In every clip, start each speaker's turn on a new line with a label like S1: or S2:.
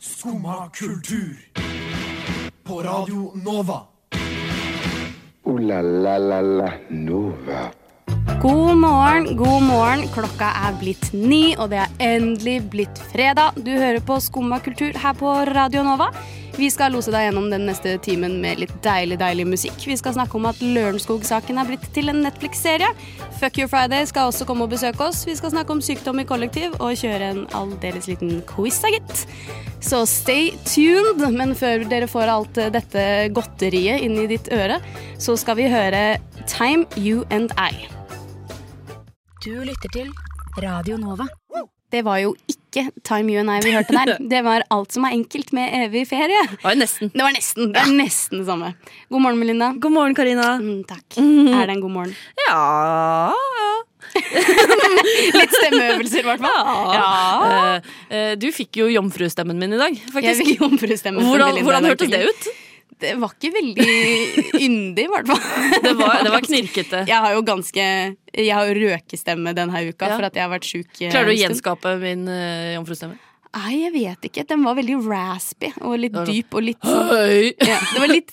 S1: Skumma kultur. På Radio Nova.
S2: Ooh la la la la Nova.
S3: God morgen, god morgen. Klokka er blitt ni, og det er endelig blitt fredag. Du hører på Skumma kultur her på Radio Nova. Vi skal lose deg gjennom den neste timen med litt deilig, deilig musikk. Vi skal snakke om at Lørenskog-saken er blitt til en Netflix-serie. Fuck Your Friday skal også komme og besøke oss. Vi skal snakke om sykdom i kollektiv og kjøre en aldeles liten quiz, da, gitt. Så stay tuned, men før dere får alt eh, dette godteriet inn i ditt øre, så skal vi høre Time You and I.
S4: Du lytter til Radio Nova.
S3: Det var jo ikke Time You and I vi hørte der. Det var Alt som er enkelt med evig ferie.
S5: Oi, nesten.
S3: Det var nesten det er nesten det samme. God morgen, Melinda.
S5: God morgen, Karina.
S3: Mm, takk. Er det en god morgen?
S5: Ja
S3: Litt stemmeøvelser, i hvert fall. Ja.
S5: Eh, eh, Du fikk jo jomfrustemmen min i dag,
S3: Jeg
S5: faktisk.
S3: fikk jomfrustemme. fra
S5: Hvordan,
S3: Melinda
S5: hvordan
S3: der
S5: hørtes det
S3: tidlig.
S5: ut?
S3: Det var ikke veldig yndig, i hvert fall.
S5: Det var, det var knirkete.
S3: Jeg har jo ganske Jeg har jo røkestemme denne uka
S5: Ja.
S3: for at jeg har vært sjuk. eh,
S5: Klarer du å
S3: en stund.
S5: gjenskape min eh, jomfrustemme?
S3: Nei, jeg vet ikke. Den var veldig raspy og litt
S5: var
S3: dyp og litt sånn-
S5: Høy!
S3: ja, Det var litt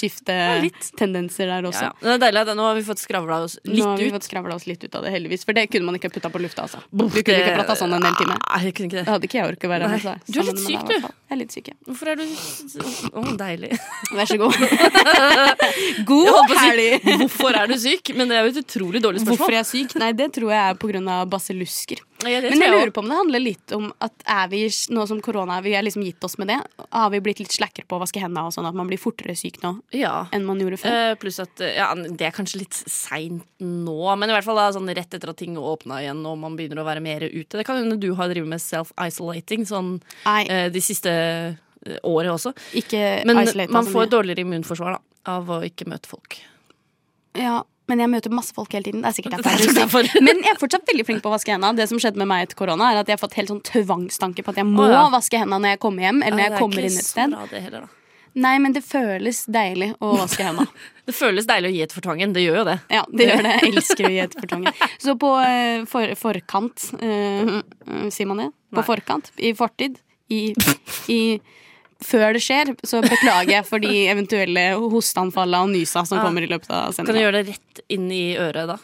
S5: litt.
S3: stemmeskiftetendenser der også.
S5: Ja, ja. Men Det er deilig at nå har vi fått skravla oss
S3: Nå har
S5: litt
S3: vi
S5: ut.
S3: fått skravla oss litt ut av det, heldigvis. For det kunne man ikke putta på lufta, altså. Du
S5: Buff,
S3: kunne ikke
S5: det-
S3: prata sånn en hel time.
S5: Nei, jeg kunne ikke
S3: Det
S5: det.
S3: hadde ikke jeg orket å være
S5: Nei.
S3: med deg.
S5: Du er litt
S3: sammen
S5: syk,
S3: med deg,
S5: du.
S3: i hvert fall. Jeg er litt syk, ja.
S5: Hvorfor er du Å, deilig.
S3: Vær så god. God
S5: Jeg holdt på å si,
S3: helg!
S5: Hvorfor er du syk? Men det er jo et utrolig dårlig
S3: Hvorfor
S5: spørsmål.
S3: jeg er syk? Nei, det tror jeg er pga. basillusker.
S5: Ja,
S3: Men
S5: det
S3: jeg
S5: tror jeg
S3: lurer på om det handler litt om at er vi, nå som korona vi har liksom gitt oss med det, har vi blitt litt slackere på å vaske hendene og sånn at man blir fortere syk nå
S5: også. Ja.
S3: enn man gjorde før?
S5: Eh, Pluss at eh, ja, det er kanskje litt seint nå, men i hvert fall da, sånn rett etter at ting åpna igjen og man begynner å være mer ute. Det kan hende du har drevet med self-isolating sånn
S3: Nei,
S5: eh, de siste eh, året også.
S3: ikke
S5: Men
S3: isolate
S5: man
S3: så
S5: får
S3: mye.
S5: dårligere immunforsvar da, av å ikke møte folk.
S3: Ja, men jeg møter masse folk hele tiden. Det er sikkert derfor.
S5: Det er
S3: jeg er
S5: sikkert
S3: syk. Men jeg er fortsatt veldig flink på å vaske hendene. Det som skjedde med meg etter korona, er at jeg har fått helt sånn tvangstanke på at jeg må
S5: Å, ja.
S3: vaske hendene når jeg kommer hjem, eller når
S5: Ja,
S3: jeg kommer inn et sted.
S5: Det er ikke så bra det heller, da.
S3: Nei, men det føles deilig å vaske hendene.
S5: Det føles deilig å gi etter for tvangen. Det gjør jo det.
S3: Ja, det gjør det. Jeg elsker å gi etter for tvangen. Så på eh, for, forkant eh, eh, Sier man det? På
S5: Nei.
S3: forkant. I fortid. I, i før det skjer, så beklager jeg for de eventuelle hosteanfallene og nysa som
S5: Ja.
S3: kommer i løpet av
S5: Kan du
S3: sendinga.
S5: gjøre det rett inn i øret da?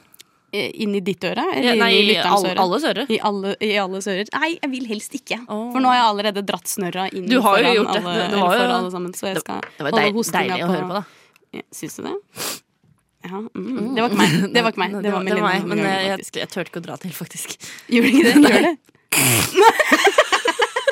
S3: eh, Inn i ditt øre?
S5: Ja,
S3: Eller
S5: Nei,
S3: inn i
S5: i
S3: lytterens
S5: alle,
S3: øre?
S5: alles øre.
S3: I alle, I alle sører? Nei, jeg vil helst ikke.
S5: Åh.
S3: For nå har jeg allerede dratt snørra inn
S5: Du har jo
S3: foran,
S5: gjort det.
S3: alle,
S5: Du
S3: eller
S5: har jo-
S3: for alle sammen. Så jeg
S5: Det,
S3: skal
S5: det var
S3: holde
S5: deil,
S3: hostinga
S5: deilig å
S3: på-
S5: høre på, da.
S3: Ja, Syns du det? Ja, mm. Det var ikke meg. Det var ikke meg. Det var
S5: det
S3: Melinda.
S5: meg, men
S3: Hagen,
S5: jeg, jeg,
S3: faktisk.
S5: jeg turte ikke å dra til, faktisk.
S3: Gjorde ikke det? Gjør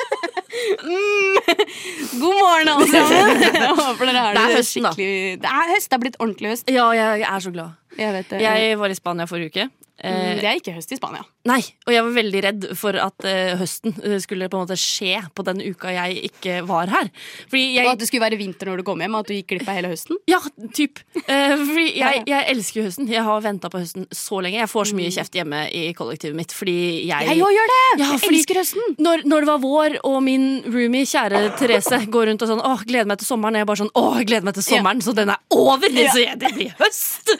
S3: det? Mm. God morgen, alle sammen. Jeg håper dere har
S5: Det er
S3: det
S5: høsten, da.
S3: skikkelig Det er høst. Det er blitt ordentlig høst.
S5: Ja, jeg er så glad.
S3: Jeg vet det.
S5: Jeg var i Spania forrige uke.
S3: Mm,
S5: Eh,
S3: det er ikke høst i Spania.
S5: nei, og jeg var veldig redd for at eh, høsten eh, skulle på en måte skje på den uka jeg ikke var her. Fordi
S3: Og
S5: jeg
S3: at det skulle være vinter når du kom hjem, og at du gikk glipp av hele høsten.
S5: Ja, typ. Eh, fordi jeg, jeg elsker jo høsten. Jeg har venta på høsten så lenge. Jeg får så mye kjeft hjemme i kollektivet mitt fordi jeg
S3: Mm. Jeg òg gjør det!
S5: Ja,
S3: jeg
S5: fordi-
S3: elsker høsten.
S5: når, når det var vår, og min roomie, kjære Therese, går rundt og sånn Åh, gleder meg til sommeren. Og jeg bare sånn Åh, jeg gleder meg til sommeren, så den er over!
S3: Ja.
S5: Så jeg, det blir høst!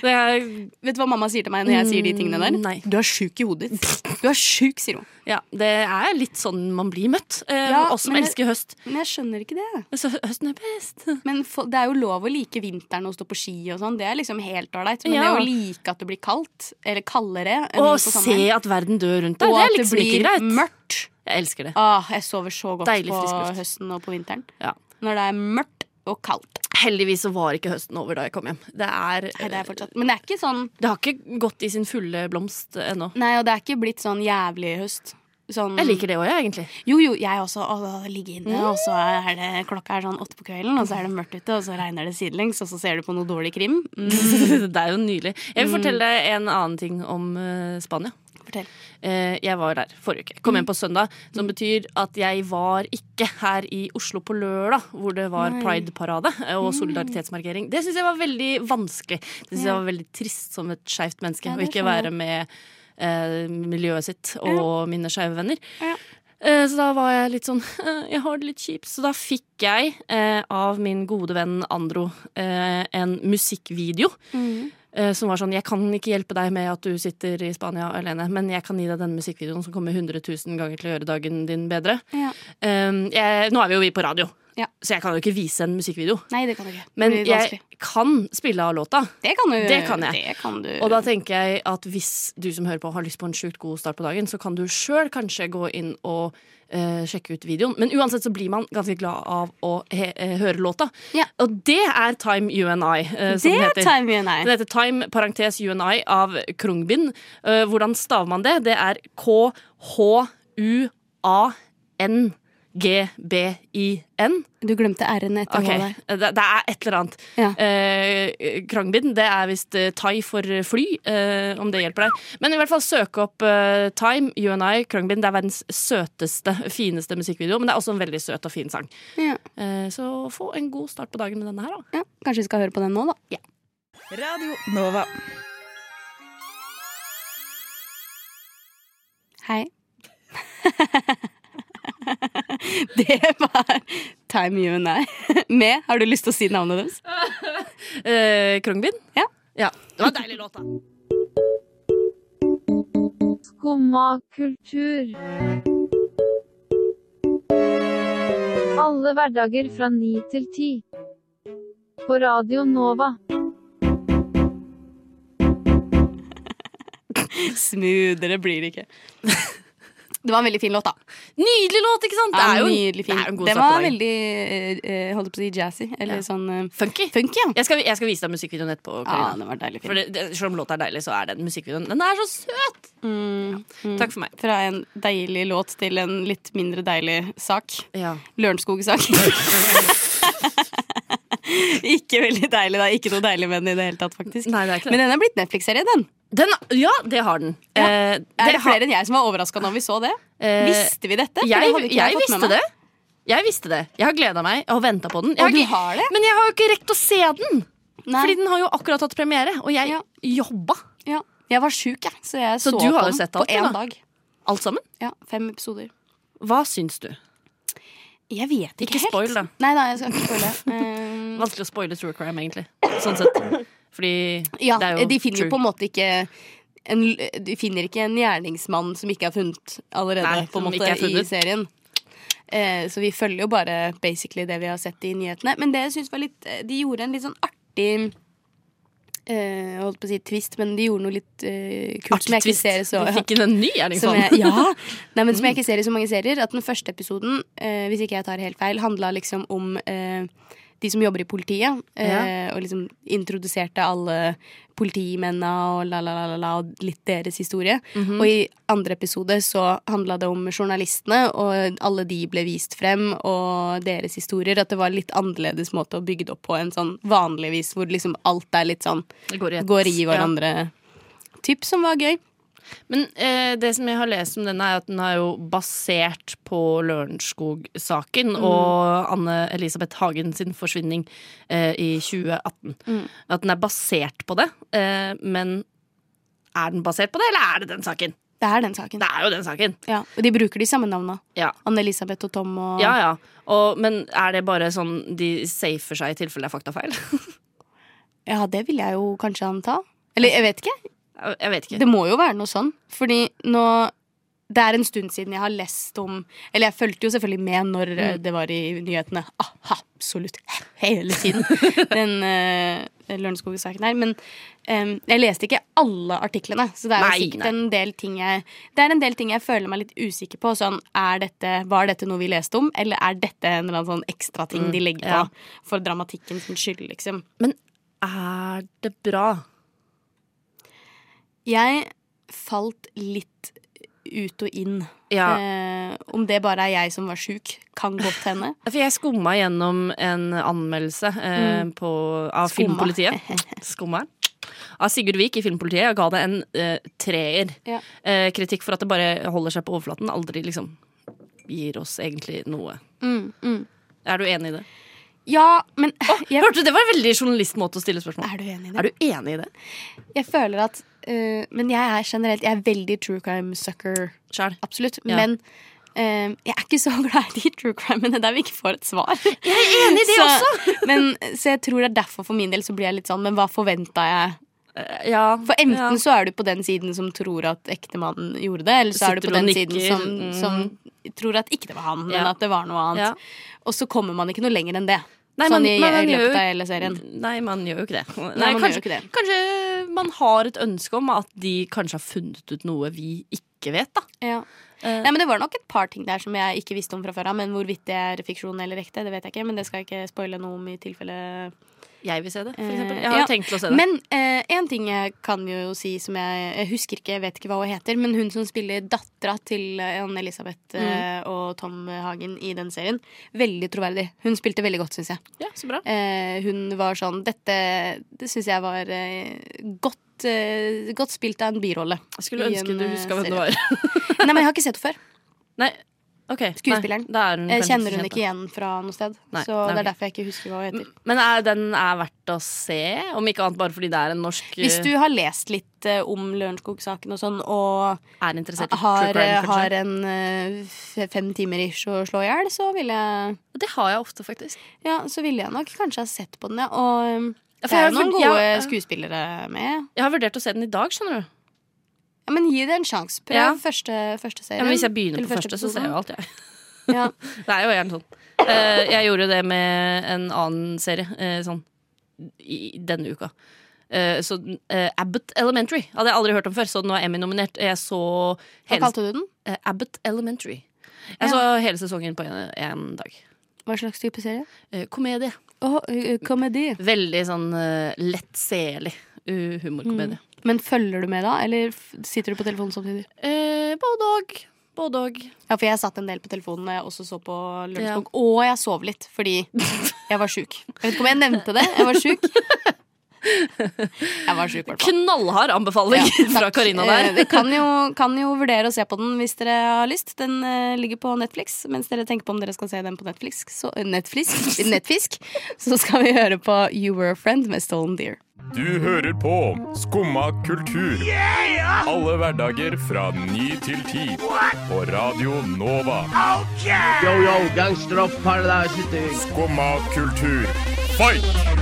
S5: Det er,
S3: Vet du hva mamma sier til meg når jeg sier de tingene der?
S5: Mm, nei.
S3: Du er sjuk i hodet ditt. Du er sjuk, sier hun.
S5: ja, det er litt sånn man blir møtt. Eh,
S3: Ja,
S5: oss som
S3: men-
S5: elsker høst.
S3: Men jeg skjønner ikke det.
S5: Så høsten er best.
S3: Men fo- det er jo lov å like vinteren og stå på ski og sånn. Det er liksom helt ålreit. Men
S5: Ja.
S3: det å like at det blir kaldt, eller kaldere enn
S5: Å
S3: på
S5: se
S3: sommeren,
S5: at verden dør rundt deg,
S3: og
S5: det
S3: at
S5: er
S3: det
S5: liksom ikke
S3: blir
S5: greit.
S3: mørkt
S5: Jeg elsker det.
S3: Åh, jeg sover så godt
S5: Deilig
S3: på
S5: frisk luft.
S3: høsten og på vinteren.
S5: Ja.
S3: Når det er mørkt og kaldt.
S5: Heldigvis så var ikke høsten over da jeg kom hjem. Det, er,
S3: Nei, det er fortsatt. Men det er ikke sånn
S5: det har ikke gått i sin fulle blomst ennå.
S3: Nei, og det er ikke blitt sånn jævlig høst. Sånn,
S5: Jeg liker det òg, jeg, egentlig.
S3: Jo, jo, jeg også. Og ligge inne, og
S5: Mm.
S3: så er det klokka er sånn åtte på kvelden, og så er det mørkt ute, og så regner det sidelengs, og så ser du på noe dårlig krim. Mm,
S5: det er jo nydelig. Jeg vil fortelle deg en annen ting om eh, Spania.
S3: fortell.
S5: Eh, jeg var der forrige uke. Kom hjem på søndag. Som betyr at jeg var ikke her i Oslo på lørdag, hvor det var prideparade eh, og solidaritetsmarkering. Det syns jeg var veldig vanskelig. Det synes jeg var veldig trist som et skeivt menneske
S3: Ja,
S5: å
S3: det
S5: ikke
S3: skjønner jeg.
S5: være med eh, miljøet sitt og mine skeive venner.
S3: Ja.
S5: Eh, Så da var jeg litt sånn eh, Jeg har det litt kjipt. Så da fikk
S3: Mm.
S5: jeg eh, av min gode venn Andro eh, en musikkvideo eh, som var sånn Jeg kan ikke hjelpe deg med at du sitter i Spania alene, men jeg kan gi deg denne musikkvideoen som kommer 100 000 ganger til å gjøre dagen din bedre.
S3: Ja.
S5: Eh, jeg, nå er vi jo vi på radio,
S3: Ja.
S5: så jeg kan jo ikke vise en musikkvideo.
S3: Nei, det kan du ikke.
S5: Men
S3: det, blir
S5: jeg
S3: vanskelig.
S5: kan spille av låta.
S3: det kan du.
S5: det kan jeg.
S3: Det kan du.
S5: Og da tenker jeg at hvis du som hører på har lyst på en sjukt god start på dagen, så kan du sjøl kanskje gå inn og eh, sjekke ut videoen. Men uansett så blir man ganske glad av å he eh, høre låta.
S3: Ja.
S5: Og det er Time You and I, eh, som
S3: det
S5: den
S3: er
S5: heter.
S3: time you and
S5: Den
S3: I.
S5: heter Time, parentes You and I, av Krungbin. Eh, hvordan staver man det? Det er K-H-U-A-N-G-B-I-N.
S3: Du glemte r-en etter
S5: Ok, eh,
S3: hva der.
S5: det, det er et eller annet.
S3: Ja.
S5: Eh, Krangbin, det er visst eh, thai for fly, eh, om det hjelper deg. Men i hvert fall søk opp eh, Time, You and I, Krangbin. Det er verdens søteste, fineste musikkvideo, men det er også en veldig søt og fin sang.
S3: Ja.
S5: Eh, så få en god start på dagen med denne her, da.
S3: Ja, kanskje vi skal høre på den nå, da.
S6: Radio Nova.
S3: Hei. det var Time You and I. Med Har du lyst til å si navnet deres?
S5: Eh, Krangbin?
S3: Ja.
S5: Det var en deilig låt, da.
S7: Skumma kultur. Alle hverdager fra 9 til 10. På Radio Nova.
S3: Smoothere blir det ikke. Det var en veldig fin låt, da.
S5: Nydelig låt, ikke sant?
S3: Ja,
S5: jo en-
S3: nydelig fin.
S5: det er jo en god
S3: Den
S5: start på
S3: var
S5: dagen.
S3: veldig eh, holdt på å si jazzy, eller
S5: Ja.
S3: sånn eh,
S5: Funky.
S3: funky. Ja.
S5: Jeg skal, jeg skal vise deg musikkvideoen etterpå.
S3: ja,
S5: Karina.
S3: den var deilig
S5: For
S3: fin.
S5: det, det, selv om låta er deilig, så er den musikkvideoen Den er så søt!
S3: Mm, mm.
S5: Takk for meg.
S3: Fra en deilig låt til en litt mindre deilig sak.
S5: Ja.
S3: Lørenskog-sak. ikke veldig deilig, da. Ikke noe deilig med den i det hele tatt, faktisk.
S5: Nei, det er ikke det.
S3: Men den er blitt Netflix-serie, den.
S5: Den, ja, det har den.
S3: Ja.
S5: Eh,
S3: Er det
S5: har-
S3: flere enn jeg som var overraska når vi så det?
S5: eh,
S3: Visste vi dette? For det
S5: Jeg,
S3: hadde ikke
S5: jeg,
S3: fått med
S5: visste
S3: meg.
S5: det. Jeg visste det. Jeg har gleda meg og venta på den. Jeg
S3: Og du
S5: ikke-
S3: har det?
S5: Men jeg har jo ikke rekt å se den!
S3: Nei.
S5: Fordi den har jo akkurat hatt premiere, og jeg
S3: Ja.
S5: jobba
S3: Ja. Jeg var sjuk, jeg, så jeg
S5: Så
S3: så,
S5: du
S3: på
S5: har jo
S3: den
S5: sett
S3: på
S5: alt, du,
S3: én
S5: da?
S3: dag.
S5: alt sammen.
S3: Ja, Fem episoder.
S5: Hva syns du?
S3: Jeg vet ikke,
S5: Ikke spoil, da.
S3: Nei da, jeg skal ikke spoile. Um,
S5: Vanskelig å spoile true crime, egentlig. Sånn sett. Fordi
S3: ja,
S5: det er jo
S3: de finner jo
S5: true.
S3: på en måte ikke en, De finner ikke en gjerningsmann som ikke er funnet allerede på
S5: Nei,
S3: en
S5: som
S3: måte,
S5: ikke er
S3: i
S5: funnet.
S3: serien. Eh, så vi følger jo bare basically det vi har sett i nyhetene. Men det jeg synes var litt eh, De gjorde en litt sånn artig eh, holdt på å si twist, men de gjorde noe litt eh, kult som jeg ikke
S5: Artig
S3: ser
S5: twist.
S3: så
S5: Du fikk inn en ny
S3: Som
S5: gjerningsmann.
S3: jeg, ja. Nei, men som
S5: Mm.
S3: jeg ikke ser i så mange serier. At den første episoden, eh, hvis ikke jeg tar helt feil, handla liksom om eh, de som jobber i politiet. eh, Og liksom introduserte alle politimennene og la-la-la-la, og litt deres historie.
S5: Mhm.
S3: Og i andre episode så handla det om journalistene, og alle de ble vist frem, og deres historier. At det var litt annerledes måte å bygge det opp på enn sånn vanligvis, hvor liksom alt er litt sånn
S5: Det går i ett.
S3: går i
S5: Ja.
S3: hverandre. Typ som var gøy.
S5: Men eh, det som jeg har lest om denne, er at den er jo basert på Lørenskog-saken og Anne-Elisabeth Hagen sin forsvinning eh, i 2018. At den er basert på det, eh, men er den basert på det, eller er det den saken?
S3: Det er den saken.
S5: Det er jo den saken.
S3: Ja, og de bruker de samme navna.
S5: Ja.
S3: Anne-Elisabeth og Tom og
S5: Ja, ja. Og, men er det bare sånn de safer seg i tilfelle det er faktafeil?
S3: Ja, det vil jeg jo kanskje anta. Eller jeg vet ikke.
S5: Jeg jeg vet ikke.
S3: Det må jo være noe sånn. Fordi nå Det er en stund siden jeg har lest om Eller jeg fulgte jo selvfølgelig med når eh,
S5: Mm.
S3: det var i nyhetene. Ah, absolutt hele tiden. Den uh, Lørenskog-saken her. Men em, jeg leste ikke alle artiklene, så det er jo
S5: Nei,
S3: sikkert
S5: nei.
S3: en del ting jeg Det er en del ting jeg føler meg litt usikker på. Sånn, er dette, var dette noe vi leste om, eller er dette en eller annen sånn ekstra ting de legger på
S5: Mm, ja.
S3: for dramatikken sin skyld, liksom?
S5: Men er det bra?
S3: Jeg falt litt ut og inn.
S5: Ja.
S3: Eh, om det bare er jeg som var sjuk, kan godt hende.
S5: For jeg skumma gjennom en anmeldelse eh, på, av
S3: Mm. Skumma.
S5: Filmpolitiet. Skumma. Av Sigurd Vik i Filmpolitiet og ga det en eh, treer.
S3: Ja.
S5: Eh, kritikk for at det bare holder seg på overflaten. Aldri liksom gir oss egentlig noe. Mm, Er du enig i det?
S3: Ja, men jeg,
S5: Hørte du, Det var en veldig journalistmåte å stille spørsmål.
S3: Er du enig i
S5: Er
S3: det?
S5: du enig i det
S3: Jeg føler at eh, Men jeg er generelt Jeg er veldig true crime sucker.
S5: sjæl?
S3: Absolutt.
S5: Ja.
S3: Men eh, jeg er ikke så glad i de true crimene der vi ikke får et svar. Jeg er
S5: enig i det
S3: så, også! men, så jeg tror det er derfor for min del så blir jeg litt sånn Men hva forventa jeg
S5: Eh, Ja.
S3: For enten
S5: ja.
S3: så er du på den siden som tror at ektemannen gjorde det, eller så er du på
S5: Sitter og
S3: den
S5: nikker, Mm.
S3: siden som, som tror at ikke det var han, men
S5: Ja.
S3: at det var noe annet.
S5: Ja.
S3: Og så kommer man ikke noe lenger enn det.
S5: Nei,
S3: sånn
S5: man-
S3: i,
S5: men man
S3: i
S5: gjør
S3: løpet
S5: jo-
S3: av hele serien.
S5: Nei, man gjør jo ikke det. Nei,
S3: man
S5: kanskje,
S3: gjør jo ikke det.
S5: kanskje man har et ønske om at de kanskje har funnet ut noe vi ikke vet, da.
S3: Ja.
S5: Eh.
S3: Nei, men Det var nok et par ting der som jeg ikke visste om fra før av. Men hvorvidt det er fiksjon eller ekte, det vet jeg ikke. Men det skal jeg ikke spoile noe om i tilfelle
S5: Jeg vil se det, for
S3: Eh,
S5: eksempel. Jeg har
S3: ja.
S5: jo tenkt til å se det.
S3: Men eh, en ting jeg kan jo si som jeg, jeg husker ikke, jeg vet ikke hva hun heter, men hun som spiller dattera til eh, Anne Elisabeth
S5: Mm.
S3: eh, og Tom Hagen i den serien, veldig troverdig. Hun spilte veldig godt, syns jeg.
S5: ja, så bra.
S3: Eh, hun var sånn Dette det syns jeg var eh, godt, eh, godt spilt av en birolle.
S5: Jeg skulle
S3: i
S5: ønske
S3: en,
S5: du
S3: eh,
S5: huska hvem det
S3: serie.
S5: var.
S3: Nei, men jeg har ikke sett henne før.
S5: Nei, ok. Nei,
S3: Skuespilleren.
S5: da er
S3: Jeg
S5: hun Mm, kanskje
S3: kjenner hun
S5: kjent,
S3: ikke igjen fra noe sted.
S5: Nei,
S3: så
S5: nei,
S3: det er
S5: ok.
S3: derfor jeg ikke husker hva hun heter.
S5: da. Men er, den er verdt å se, om ikke annet bare fordi det er en norsk eh,
S3: Hvis du har lest litt eh, om Lørenskog-saken og sånn, og
S5: eh, er interessert i true
S3: har, eh,
S5: crime, kanskje.
S3: har en eh, f- fem timer ish å slå i hjel, så ville jeg
S5: Det har jeg ofte, faktisk.
S3: ja, så ville jeg nok kanskje ha sett på den, ja. Og um,
S5: Ja,
S3: det
S5: for
S3: er jo
S5: jeg har
S3: noen
S5: vurd-
S3: gode
S5: jeg-
S3: skuespillere med.
S5: Jeg har vurdert å se den i dag, skjønner du.
S3: Ja, men gi det en sjanse. Prøv
S5: Ja.
S3: første, første serien.
S5: Ja, men hvis jeg begynner
S3: eller
S5: på første, så ser jeg jo
S3: episoden.
S5: alt, jeg.
S3: Ja.
S5: Det er jo gjerne sånn. Eh, jeg gjorde det med en annen serie eh, sånn i, i denne uka. Eh, så eh, Abbott Elementary hadde jeg aldri hørt om før, så nå er Emmy nominert. Jeg så
S3: Hva
S5: hele,
S3: kalte du den?
S5: eh, Abbott Elementary. Jeg så hele sesongen på en, en dag.
S3: Hva slags type serie?
S5: Eh, komedie.
S3: Å, komedi.
S5: Veldig sånn eh, lett selig uh, humorkomedie.
S3: Men følger du med da, eller f- sitter du på telefonen samtidig?
S5: Eh, både og. Både og.
S3: Ja, for jeg satt en del på telefonen når jeg også så på Lørenskog. Og jeg sov litt, fordi jeg var sjuk. Jeg vet ikke om jeg nevnte det. Jeg var sjuk. Jeg var sjuk, i hvert fall.
S5: Knallhard anbefaling fra
S3: Takk.
S5: Karina der.
S3: Eh, Det kan jo, kan jo vurdere å se på den hvis dere har lyst. Den eh, ligger på Netflix. Mens dere tenker på om dere skal se den på Netflix, så, eh, Netflix, Netfisk, så skal vi høre på You Were a Friend med Stolen Deer.
S8: Du hører på Skumma kultur. Alle hverdager fra ny til ti. På Radio Nova. Skumma kultur. Fight!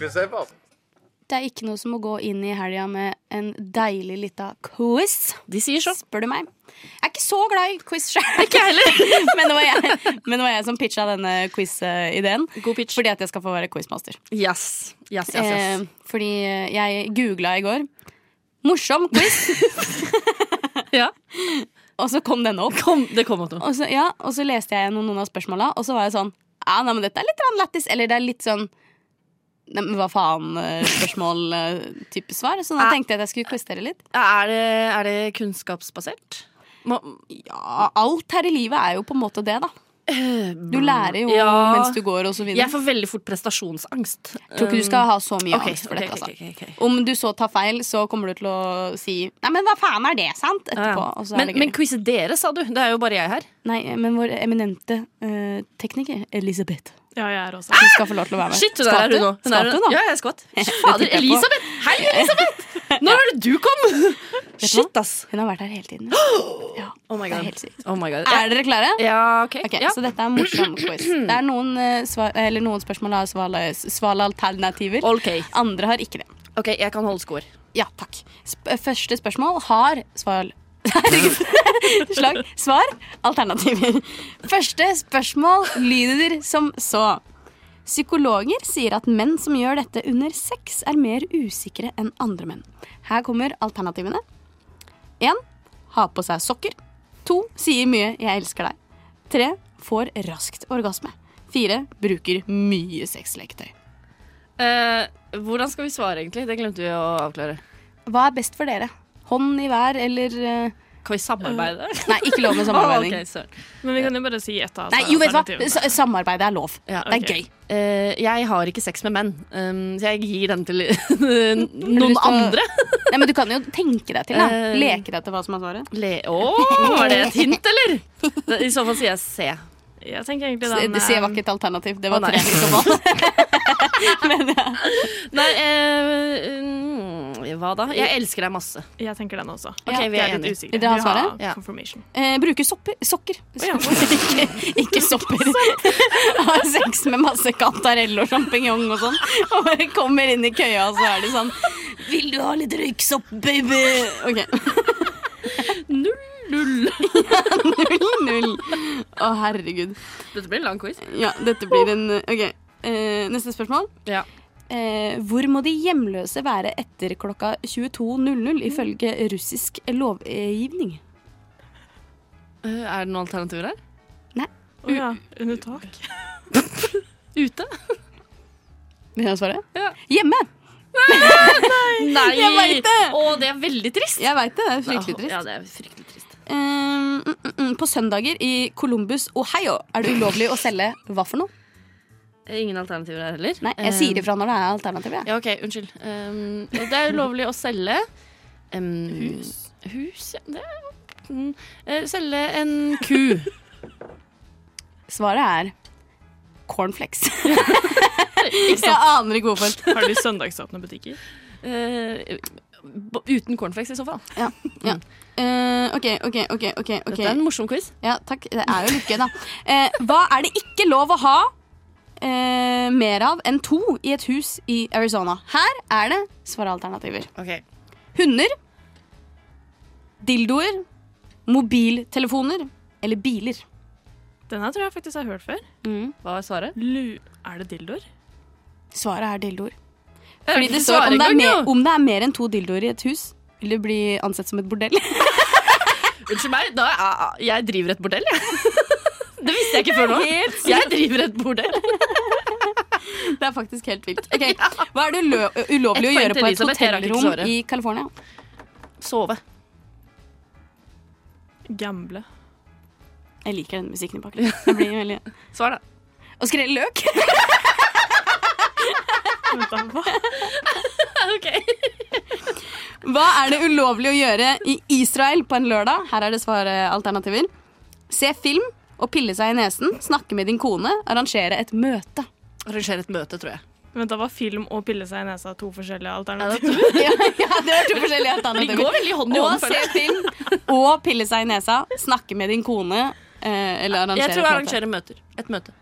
S3: Det er ikke noe som å gå inn i helga med en deilig lita quiz.
S5: De sier så.
S3: Spør du meg. Jeg er ikke så glad i quiz sjøl.
S5: Ikke jeg heller.
S3: men, det var jeg, men det var jeg som pitcha denne quiz-ideen.
S5: God pitch.
S3: Fordi at jeg skal få være quizmaster.
S5: Yes. Yes, yes, yes.
S3: Eh, fordi jeg googla i går 'morsom quiz',
S5: ja.
S3: og så kom denne opp.
S5: Kom, det kom opp noe.
S3: Og så, ja, og så leste jeg gjennom noen av spørsmåla, og så var jeg sånn Ja, nei, men dette er litt grann lættis. Eller det er litt sånn Nei, men hva eh, faen-spørsmål-type eh, svar. Så da
S5: Ja.
S3: tenkte jeg at jeg skulle quiz dere litt.
S5: Er det, er det kunnskapsbasert? Må,
S3: Ja, alt her i livet er jo på en måte det, da. Du lærer jo
S5: Mm. Ja.
S3: mens du går, og så videre.
S5: jeg får veldig fort prestasjonsangst.
S3: Tror ikke du skal ha så mye
S5: Um, Ok,
S3: angst for
S5: ok,
S3: dette.
S5: ok,
S3: Altså.
S5: ok, ok.
S3: Om du så tar feil, så kommer du til å si 'nei, men hva faen er det', sant?
S5: Ja,
S3: Etterpå.
S5: ja.
S3: Og så er
S5: Men,
S3: det gøy.
S5: men quize dere, sa du. Det er jo bare jeg her.
S3: Nei, men vår eminente eh, tekniker Elisabeth
S5: Ja, jeg er også.
S3: Hun skal få lov til å være med.
S5: Shit, hun er her, hun òg.
S3: Skvatt du nå?
S5: Ja, jeg skvatt. Fader,
S3: tipper jeg på.
S5: Elisabeth! Hei, Elisabeth! Når var det du kom? Shit, ass.
S3: Hun har vært her hele tiden. Ja,
S5: Oh my
S3: det er
S5: god.
S3: helt sykt.
S5: Oh my god.
S3: Er dere klare?
S5: Ja, OK.
S3: Ok,
S5: ja.
S3: Så dette er en morsom quiz. Det er noen, eh, svar, eller noen spørsmål har svale- svalalternativer.
S5: Ok.
S3: Andre har ikke det.
S5: OK, jeg kan holde skår.
S3: Ja, takk. Sp eh, første spørsmål har svar Herregud. Slag. Svar. Alternativer. Første spørsmål lyder som så. Psykologer sier at menn som gjør dette under sex, er mer usikre enn andre menn. Her kommer alternativene. 1. Ha på seg sokker. 2. Sier mye 'jeg elsker deg'. 3. Får raskt orgasme. 4. Bruker mye sexleketøy.
S5: Eh, hvordan skal vi svare, egentlig? Det glemte vi å avklare.
S3: Hva er best for dere? Hånd i hver eller eh,
S5: Kan vi samarbeide?
S3: Nei, ikke lov med Mm. samarbeiding.
S5: Å, ok, søren.
S9: Men vi kan jo bare si et av
S3: Nei, jo, vet du hva?
S9: alternativene.
S3: S- Samarbeid er lov.
S5: Ja,
S3: Det er
S9: ok.
S3: gøy.
S5: Eh, jeg har ikke sex med menn, um, så jeg gir den til noen
S3: lyst til å-
S5: andre.
S3: Nei, men du kan jo tenke deg til, da.
S5: Eh.
S3: Leke deg til hva som er svaret.
S5: Le Å, var det et hint, eller? I så fall sier jeg C. Jeg tenker egentlig den
S3: Det sier
S5: eh,
S3: var ikke et alternativ. Det var
S5: Å, nei.
S3: tre som var. Men ja.
S5: Nei, eh, mm, hva da? Jeg elsker deg masse.
S9: Jeg tenker den også.
S5: Ok, vi
S9: Jeg
S5: er
S9: er litt
S5: enige.
S9: usikker.
S3: Vil dere ha
S9: Vi har
S3: svaret?
S5: Ja.
S9: Confirmation.
S3: Eh, bruke sopper, sokker.
S9: ja.
S3: ikke, ikke sopper. Har sex med masse kantarell og sjampinjong og sånn. Og bare kommer inn i køya, og så er det sånn Vil du ha litt røyksopp, baby? Ok. Null, null. ja, null, null. Å, herregud.
S5: Dette blir en lang quiz.
S3: Ja, dette blir en OK. Eh, neste spørsmål.
S5: Ja.
S3: Eh, hvor må de hjemløse være etter klokka 22.00 ifølge russisk lovgivning?
S5: Eh, er det noen alternativer her?
S9: Å ja. Under tak.
S5: Ute?
S3: Vil jeg svare?
S5: Ja.
S3: Hjemme!
S5: Nei!
S3: Jeg vet det!
S5: Å, det er veldig trist.
S3: Jeg veit det. Det er fryktelig trist.
S5: Ja, det er fryktelig trist.
S3: Eh, mm, mm, mm. på søndager i Columbus, Ohio, er det ulovlig å selge hva for noe?
S5: Ingen alternativer her heller.
S3: Nei, jeg sier ifra når det er alternativ. jeg.
S5: Ja, OK, unnskyld. Um, og det er ulovlig å selge um, Hus. Hus, ja. Det er, mm, eh, selge en ku.
S3: Svaret er cornflakes. jeg aner ikke hvorfor.
S9: Har de søndagsåpne butikker?
S5: Eh, b- uten cornflakes, i så fall.
S3: Eh, OK, OK, OK. ok, ok
S5: Dette er en morsom quiz.
S3: Ja, takk. Det er jo litt gøy, da. Eh, hva er det ikke lov å ha eh, mer av enn to i et hus i Arizona? Her er det svaralternativer.
S5: Ok.
S3: Hunder, dildoer, mobiltelefoner eller biler.
S9: Den her tror jeg faktisk jeg har hørt før.
S5: Hva er svaret?
S9: Lu... Er det dildoer?
S3: Svaret er dildoer.
S5: Fordi
S3: Det står, om, det er mer, om det er mer enn to dildoer i et hus, vil det bli ansett som et bordell.
S5: Unnskyld meg, da er, jeg driver et bordell, jeg. Det visste jeg ikke før nå. Jeg driver et bordell.
S3: Det er faktisk helt vilt. Ok, Hva er det ulø- ulovlig å
S5: Ett poeng
S3: gjøre
S5: til
S3: på et
S5: Elisabeth, her har ikke
S3: hotellrom
S5: svaret.
S3: i California?
S5: Sove.
S9: Gamble.
S3: Jeg liker den musikken i bakgrunnen. Det blir veldig...
S5: Svar, da.
S3: Å skrelle løk?
S9: Vent da, hva?
S3: Hva er det ulovlig å gjøre i Israel på en lørdag? Her er det svaralternativer. Se film og pille seg i nesen, snakke med din kone, arrangere et møte.
S5: Arrangere et møte, tror jeg.
S9: Vent da, var film og pille seg i nesa to forskjellige alternativer?
S3: Ja, ja, det er to forskjellige
S5: De går
S3: alternativer.
S5: veldig hånd i
S3: Å
S5: hånd.
S3: se
S5: føler jeg.
S3: film og pille seg i nesa, snakke med din kone eh, eller arrangere et
S5: Jeg tror jeg
S3: møte.
S5: arrangerer møter. Et møte.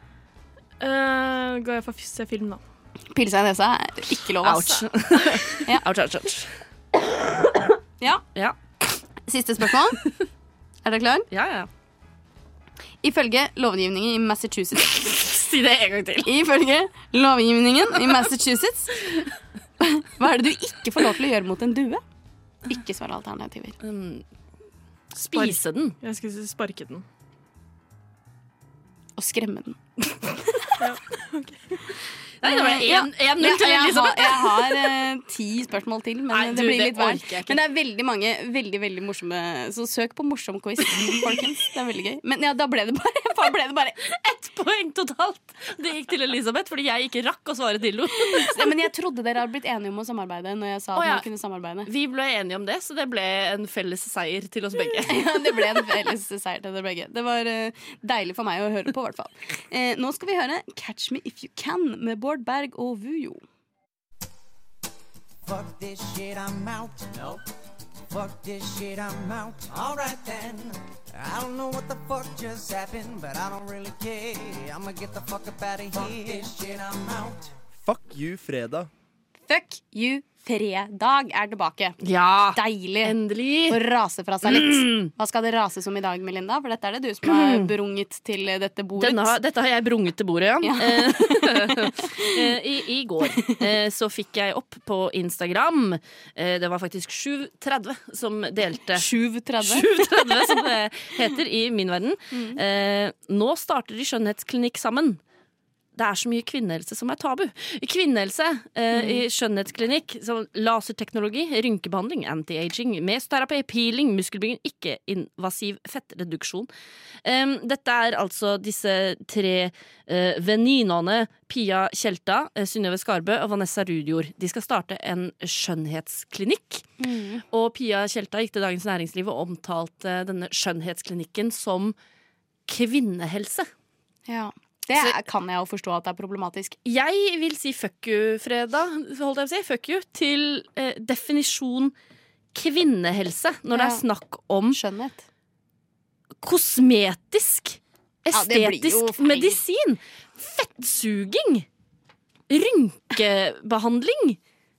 S9: Eh, går jeg for å se film, da.
S3: Pille seg i nesa er ikke lov, ass. Ja.
S5: ouch, ouch, ouch.
S3: Ja.
S5: Ja.
S3: Siste spørsmål. Er dere klar?
S5: Ja, ja.
S3: Ifølge lovgivningen i Massachusetts
S5: Si det en gang til.
S3: Ifølge lovgivningen i Massachusetts Hva er det du ikke får lov til å gjøre mot en due? Ikke svar alternativer.
S5: Mm. Spise den.
S9: Jeg skulle si sparke den.
S3: Og skremme den.
S5: Nei, det var
S3: Ja.
S5: 1-0
S3: Jeg,
S5: til
S3: jeg, har,
S5: Elisabeth.
S3: jeg har eh, ti spørsmål til, men
S5: Nei, du,
S3: det blir
S5: det
S3: litt hver.
S5: orker jeg ikke.
S3: Men det er veldig mange veldig veldig morsomme, så søk på morsom quiz, folkens. Det er veldig gøy. Men ja, da ble det bare, da ble det bare
S5: Ett poeng totalt. Det gikk til Elisabeth fordi jeg ikke rakk å svare dildo.
S3: Nei, Men jeg trodde dere hadde blitt enige om å samarbeide når jeg sa at
S5: Å, ja.
S3: man kunne samarbeide.
S5: Vi ble enige om det, så det ble en felles seier til oss begge.
S3: Ja, det ble en felles seier til dere begge. Det var eh, deilig for meg å høre på, i hvert fall. Eh, nå skal vi høre Catch Me If You Can med Bård Berg og Vujo.
S1: Fuck this shit, I'm out. No. Fuck this shit, I'm out. Alright then. I don't know what the fuck just happened, but I don't really care. I'ma get the fuck up out of here. Fuck this shit, I'm out. Fuck you, fredag.
S3: Fuck you, fredag er tilbake.
S5: Ja,
S3: Deilig å
S5: endelig.
S3: rase fra seg
S5: Mm.
S3: litt. Hva skal det rases om i dag, Melinda? For dette er det du som har brunget til dette bordet.
S5: Denne, har- dette har jeg brunget til bordet, ja. Eh, I, I går eh, så fikk jeg opp på Instagram eh, Det var faktisk 730 som delte
S3: 7.30.
S5: 730, som det heter i min verden. Eh, nå starter de skjønnhetsklinikk sammen. Det er så mye kvinnehelse som er tabu. Kvinnehelse eh, i skjønnhetsklinikk, som laserteknologi, rynkebehandling, anti-aging, mesterapi, peeling, muskelbygging, ikke-invasiv fettreduksjon. Em, dette er altså disse tre eh, venninene Pia Tjelta, eh, Synnøve Skarbø og Vanessa Rudjord. De skal starte en skjønnhetsklinikk. Og Pia Tjelta gikk til Dagens Næringsliv og omtalte denne skjønnhetsklinikken som kvinnehelse.
S3: Ja. Det
S5: Så-
S3: kan jeg jo forstå at det er problematisk.
S5: Jeg vil si fuck you-fredag, holdt jeg på å si, fuck you, til eh, definisjon kvinnehelse. Når det
S3: Ja.
S5: er snakk om
S3: Skjønnhet.
S5: kosmetisk,
S3: Ja, det blir jo
S5: estetisk
S3: feil.
S5: medisin, fettsuging, rynkebehandling,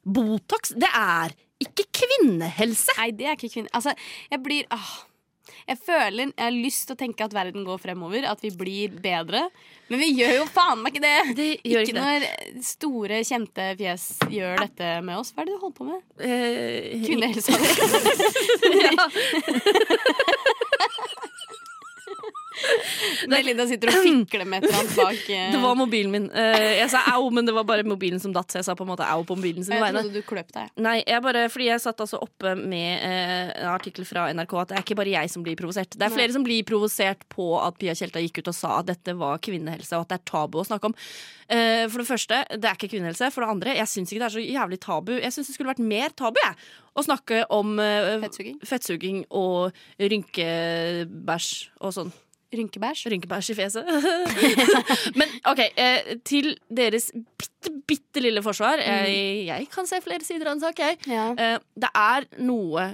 S5: Botox. Det er ikke kvinnehelse.
S3: Nei, det er ikke kvinne... Altså, jeg blir ah. Jeg føler, jeg har lyst til å tenke at verden går fremover, at vi blir bedre. Men vi gjør jo faen meg ikke det!
S5: Det
S3: Ikke
S5: gjør ikke det.
S3: når store, kjente fjes gjør dette med oss. Hva er det du holder på med?
S5: Eh,
S3: Kvinnehelsa di.
S5: ja.
S3: Når Linda sitter og fikler med et eller annet bak eh,
S5: Det var mobilen min. Eh, jeg sa au, men det var bare mobilen som datt. Så jeg sa på en måte au på mobilen sin
S3: Jeg
S5: vegne.
S3: trodde du kløp deg.
S5: Nei, jeg bare, fordi jeg satt altså oppe med eh, en artikkel fra NRK at det er ikke bare jeg som blir provosert. Det er flere som blir provosert på at Pia Tjelta gikk ut og sa at dette var kvinnehelse, og at det er tabu å snakke om. Eh, for det første, det er ikke kvinnehelse. For det andre, jeg syns ikke det er så jævlig tabu. Jeg syns det skulle vært mer tabu, jeg, å snakke om eh,
S3: Fettsuging?
S5: fettsuging og rynkebæsj og sånn.
S3: Rynkebæsj?
S5: Rynkebæsj i fjeset. Men OK, eh, til deres bitte, bitte lille forsvar.
S3: Mm.
S5: Jeg, jeg kan se flere sider av en sak, jeg.
S3: Ja.
S5: Eh, det er noe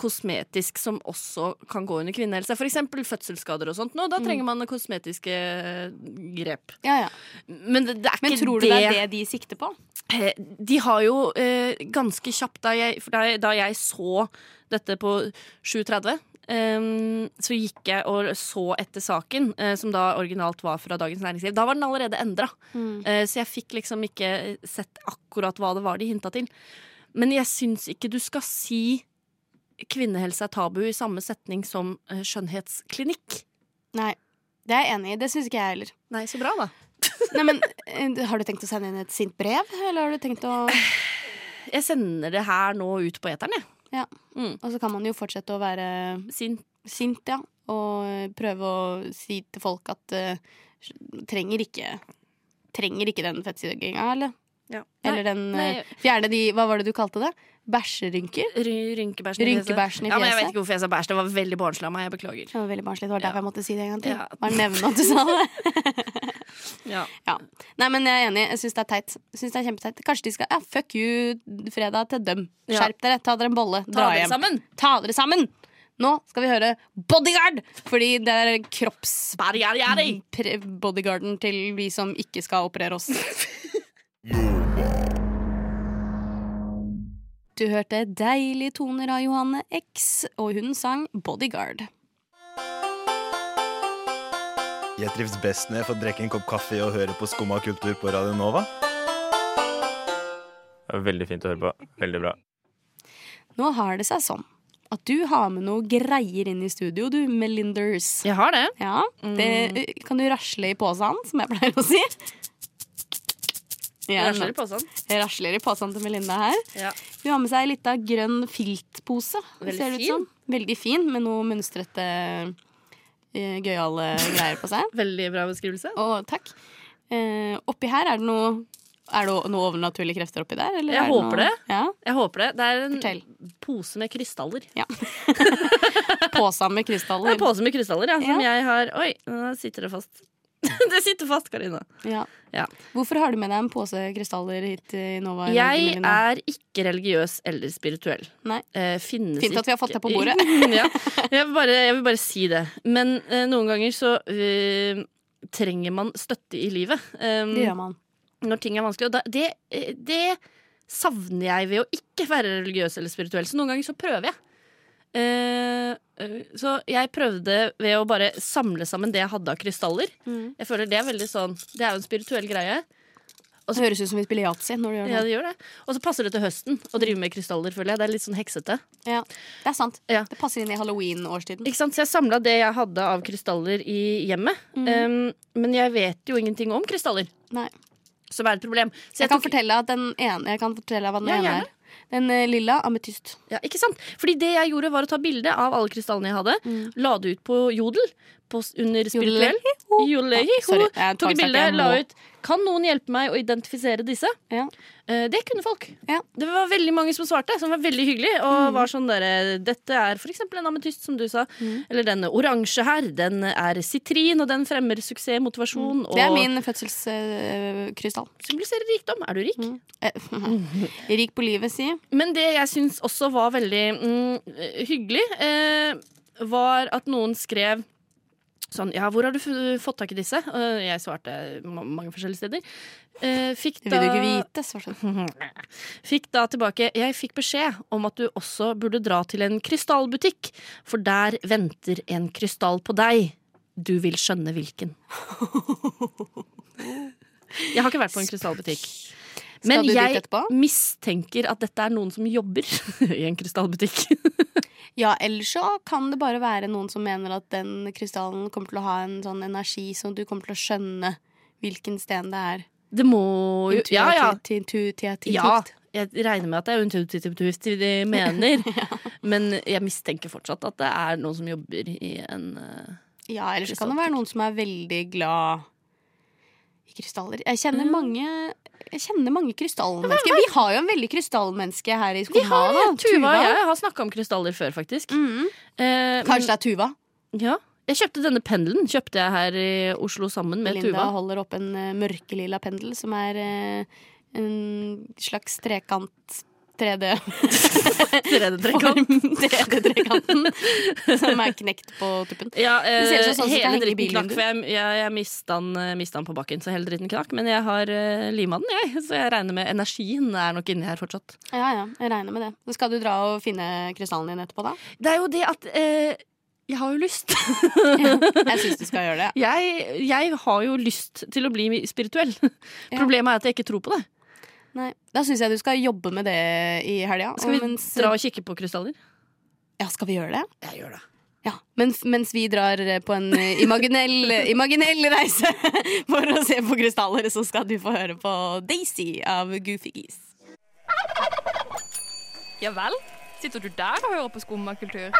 S5: kosmetisk som også kan gå under kvinnehelse. For eksempel fødselsskader og sånt. Nå,
S3: Mm.
S5: da trenger man kosmetiske grep.
S3: ja, ja.
S5: Men det, det er
S3: Men
S5: ikke
S3: tror du det er det de sikter på?
S5: Eh, De har jo eh, ganske kjapt da jeg, for da, jeg- da jeg så dette på 7.30 eh, så gikk jeg og så etter saken, eh, som da originalt var fra Dagens Næringsliv. Da var den allerede endra, eh, så jeg fikk liksom ikke sett akkurat hva det var de hinta til. Men jeg syns ikke du skal si kvinnehelse er tabu i samme setning som eh, skjønnhetsklinikk.
S3: Nei. Det er jeg enig i. Det syns ikke jeg heller.
S5: Nei, så bra, da.
S3: Nei, men eh, Har du tenkt å sende inn et sint brev, eller har du tenkt å
S5: Jeg sender det her nå ut på eteren, jeg.
S3: Og så kan man jo fortsette å være
S5: Sin
S3: sint, ja. Og eh, prøve å si til folk at eh, trenger ikke Trenger ikke den fettsugginga, eller? Eller den eh,
S5: nei.
S3: Fjerne de Hva var det du kalte det? Bæsjerynker?
S5: Ry- Rynkebæsjen i fjeset.
S3: Rynkebæsjen i
S5: Ja, men jeg
S3: fjeset.
S5: vet ikke hvorfor jeg sa bæsj. Det var veldig barnslig av meg. Jeg beklager.
S3: Det var veldig barnslig. Det var derfor jeg måtte si det en gang til.
S5: Ja.
S3: Bare nevne at du sa det.
S5: Ja.
S3: Ja. Nei, men jeg er enig. Jeg syns det er teit. Jeg Synes det er kjempeteit. Kanskje de skal ja, fuck you fredag til dem.
S5: Ja.
S3: Skjerp dere, ta dere en bolle,
S5: Ta
S3: dra
S5: dere
S3: hjem.
S5: sammen!
S3: Ta dere sammen! Nå skal vi høre Bodyguard! Fordi det er kropps...
S5: Bæri, jæri, jæri!
S3: pre- Bodyguarden til vi som ikke skal operere oss. Du hørte deilige toner av Johanne X, og hun sang Bodyguard.
S10: Jeg trives best når jeg får drikke en kopp kaffe og høre på Skumma kultur på Radio Nova.
S8: Veldig fint å høre på. Veldig bra.
S3: Nå har det seg sånn at du har med noe greier inn i studio, du, Melinders.
S5: Jeg har det.
S3: Ja, det
S5: Mm.
S3: eh, kan du rasle i posen, som jeg pleier å si. Ja,
S5: Jeg rasler i posen.
S3: jeg rasler i posen til Melinda her.
S5: Ja.
S3: Hun har med seg litt av grønn filtpose. det
S5: Veldig
S3: ser det ut
S5: fin.
S3: som. Veldig fin, med noe mønstrete, eh, gøyale greier på seg.
S5: Veldig bra beskrivelse.
S3: Å, takk. Eh, oppi her er det noe Er det noe overnaturlige krefter oppi der? Eller
S5: Jeg
S3: er noe,
S5: håper det.
S3: Ja,
S5: Jeg håper det. Det er en
S3: Fortell.
S5: pose med krystaller.
S3: Posa med
S5: Det er
S3: krystaller.
S5: en pose med krystaller, ja, som
S3: Ja.
S5: jeg har Oi, nå sitter det fast. det sitter fast, Karina.
S3: Ja.
S5: Ja.
S3: Hvorfor har du med deg en pose krystaller hit i Nova? i dag,
S5: Jeg
S3: Melinda?
S5: er ikke religiøs eller spirituell.
S3: Nei.
S5: Eh, finnes
S3: Fint at vi har fått det på
S5: ikke-
S3: bordet.
S5: ja. jeg, vil bare, jeg vil bare si det. Men eh, noen ganger så eh, trenger man støtte i livet. Um,
S3: Det gjør man.
S5: når ting er vanskelig. Og da, det, eh, det savner jeg ved å ikke være religiøs eller spirituell. Så noen ganger så prøver jeg. Eh, eh, så jeg prøvde ved å bare samle sammen det jeg hadde av krystaller.
S3: Mm.
S5: Jeg føler Det er veldig sånn Det er jo en spirituell greie.
S3: Det høres ut som vi spiller yatzy når du gjør det.
S5: Ja, det gjør det Og så passer det til høsten å drive med krystaller, føler jeg. Det er litt sånn heksete.
S3: Ja, det er sant.
S5: Ja.
S3: Det passer inn i halloween-årstiden.
S5: Ikke sant? Så jeg samla det jeg hadde av krystaller i hjemmet. Eh, men jeg vet jo ingenting om krystaller,
S3: Mm. Nei.
S5: som er et problem. Så
S3: Jeg, kan fortelle at den ene, jeg kan fortelle deg hva den
S5: Ja,
S3: ene
S5: gjerne.
S3: er. Den eh, lilla ametyst.
S5: Ja, ikke sant? Fordi det jeg
S3: Mm.
S5: gjorde var å ta bilde av alle krystallene jeg hadde, la det ut på Jodel på, s- under spirituell. Jolei,
S3: sorry,
S5: ho.
S3: jeg
S5: Tok et
S3: tvangstakte,
S5: bilde,
S3: jeg
S5: la
S3: må.
S5: ut. Kan noen hjelpe meg å identifisere disse? Eh, Det kunne folk. Det var veldig mange som svarte, som var veldig hyggelig.
S3: Mm.
S5: Og var sånn derre Dette er for eksempel en ametyst, som du sa.
S3: Mm.
S5: Eller denne oransje her. Den er sitrin, og den fremmer suksess, motivasjon og
S3: Mm. Det er min fødselskrystall. Eh,
S5: symboliserer rikdom. Er du rik?
S3: Rik på livet, si.
S5: Men det jeg syns også var veldig mm, hyggelig, eh, var at noen skrev sånn Ja, hvor har du f- fått tak i disse? Og jeg svarte ma mange forskjellige steder. Eh, fikk
S3: Det
S5: da
S3: vil du ikke vite, svarte
S5: hun. Fikk da tilbake Jeg fikk beskjed om at du også burde dra til en krystallbutikk, for der venter en krystall på deg. Du vil skjønne hvilken. Jeg har ikke vært på en krystallbutikk. Men
S3: du dit
S5: jeg
S3: etterpå?
S5: mistenker at dette er noen som jobber i en krystallbutikk.
S3: Ja, eller så kan det bare være noen som mener at den krystallen kommer til å ha en sånn energi som du kommer til å skjønne hvilken sten det er.
S5: Det må jo Ja, ja. ja.
S3: Intuitivt.
S5: Jeg regner med at det er intuitivt de mener, men jeg mistenker fortsatt at det er noen som jobber i en eh,
S3: Ja, eller så kan det være noen som er veldig glad i krystaller. Jeg
S5: Mm.
S3: kjenner mange jeg kjenner mange krystallmennesker. Vi har jo en veldig krystallmenneske her i
S5: Vi
S3: skolen.
S5: har
S3: da.
S5: det. Ah, Tuva Mm. og jeg har snakka om krystaller før, faktisk. Eh,
S3: Mm. Kanskje det er Tuva?
S5: Ja. Jeg kjøpte denne pendelen kjøpte jeg her i Oslo sammen med
S3: Linda
S5: Tuva.
S3: holder opp en eh, mørkelilla pendel som er eh, en slags trekant 3D.
S5: Tredjedrekant.
S3: Trekanten som er knekt på tuppen.
S5: Ja, eh,
S3: Det ser ut som sånn som kan
S5: hele
S3: henge i
S5: dritten knakk,
S3: bilvinduet.
S5: for jeg, jeg, jeg mista den, eh, mistet den på bakken. Så hele dritten knakk Men jeg har uh, lima den, jeg. Så jeg regner med energien er nok inni her fortsatt.
S3: Ja, ja, jeg regner med det. Så skal du dra og finne krystallen din etterpå, da?
S5: Det er jo det at eh, Jeg har jo lyst.
S3: Jeg syns du skal gjøre det.
S5: Jeg, jeg har jo lyst til å bli spirituell.
S3: Ja.
S5: Problemet er at jeg ikke tror på det.
S3: Nei. Da syns jeg du skal jobbe med det i helga.
S5: Skal
S3: og
S5: vi
S3: mens-
S5: dra og kikke på krystaller?
S3: Ja, skal vi gjøre det?
S5: Jeg gjør det.
S3: Ja, men, f- Mens vi drar eh, på en eh, imaginell, imaginell reise for å se på krystaller, så skal du få høre på Daisy av Goofy Geese.
S11: Ja vel? Sitter du der og hører på skummakultur?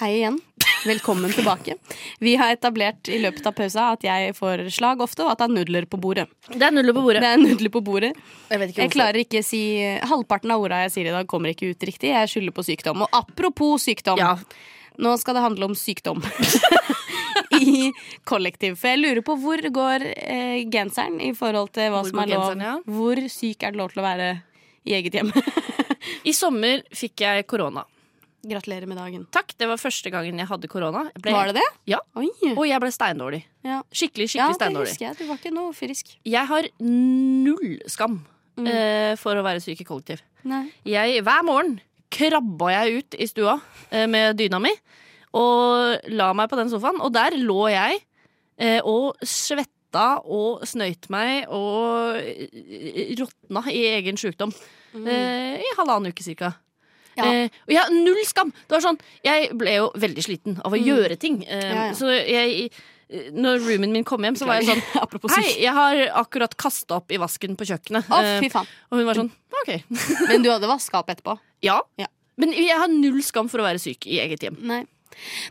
S3: Hei igjen. Velkommen tilbake. Vi har etablert i løpet av pausa at jeg får slag ofte, og at det er nudler på bordet.
S5: Det er nudler på bordet.
S3: Det er nudler på bordet.
S5: Jeg vet ikke
S3: Jeg
S5: hvorfor.
S3: klarer ikke å si Halvparten av orda jeg sier i dag, kommer ikke ut riktig. Jeg skylder på sykdom. Og apropos sykdom, nå skal det handle om sykdom. I kollektiv. For jeg lurer på hvor går eh, genseren i forhold til hva
S5: Hvor
S3: som
S5: går
S3: er lov.
S5: genseren, ja?
S3: Hvor syk er det lov til å være i eget hjem?
S5: I sommer fikk jeg korona.
S3: Gratulerer med dagen.
S5: Takk, Det var første gangen jeg hadde korona. Jeg ble-
S3: Var det det?
S5: Ja.
S3: Oi.
S5: Og jeg ble steindårlig.
S3: Ja.
S5: Skikkelig, skikkelig
S3: Ja, det
S5: steindårlig.
S3: husker jeg. Du var ikke noe frisk.
S5: Jeg har null skam
S3: Mm.
S5: eh, for å være syk i kollektiv.
S3: Nei.
S5: Jeg, hver morgen krabba jeg ut i stua eh, med dyna mi og la meg på den sofaen. Og der lå jeg eh, og svetta og snøyt meg og eh, råtna i egen sjukdom eh, i halvannen uke cirka.
S3: Mm. Ja.
S5: Eh, og jeg har null skam! Det var sånn, jeg ble jo veldig sliten av å gjøre ting. Eh,
S3: Mm. Ja, ja.
S5: Så jeg, når roomien min kom hjem, så var jeg sånn
S3: Apropos
S5: Hei, jeg har akkurat kasta opp i vasken på kjøkkenet.
S3: Å,
S5: Eh,
S3: fy faen.
S5: og hun var sånn OK.
S3: Men du hadde vaska opp etterpå?
S5: Ja.
S3: Ja.
S5: Men jeg har null skam for å være syk i eget hjem.
S3: Nei.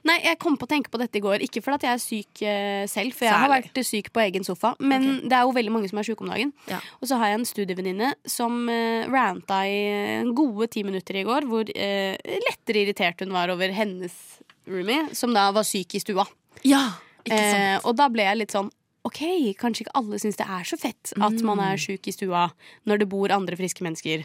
S3: Nei, jeg kom på å tenke på dette i går. Ikke fordi jeg er syk eh, selv, for jeg har
S5: Særlig.
S3: vært syk på egen sofa. Men det er jo veldig mange som er syke om dagen.
S5: Ja.
S3: Og så har jeg en studievenninne som eh, ranta i eh, gode ti minutter i går, hvor eh, lettere irritert hun var over hennes roomie, som da var syk i stua.
S5: Ja,
S3: Eh, og da ble jeg litt sånn OK, kanskje ikke alle syns det er så fett at man
S5: Mm.
S3: er sjuk i stua når det bor andre friske mennesker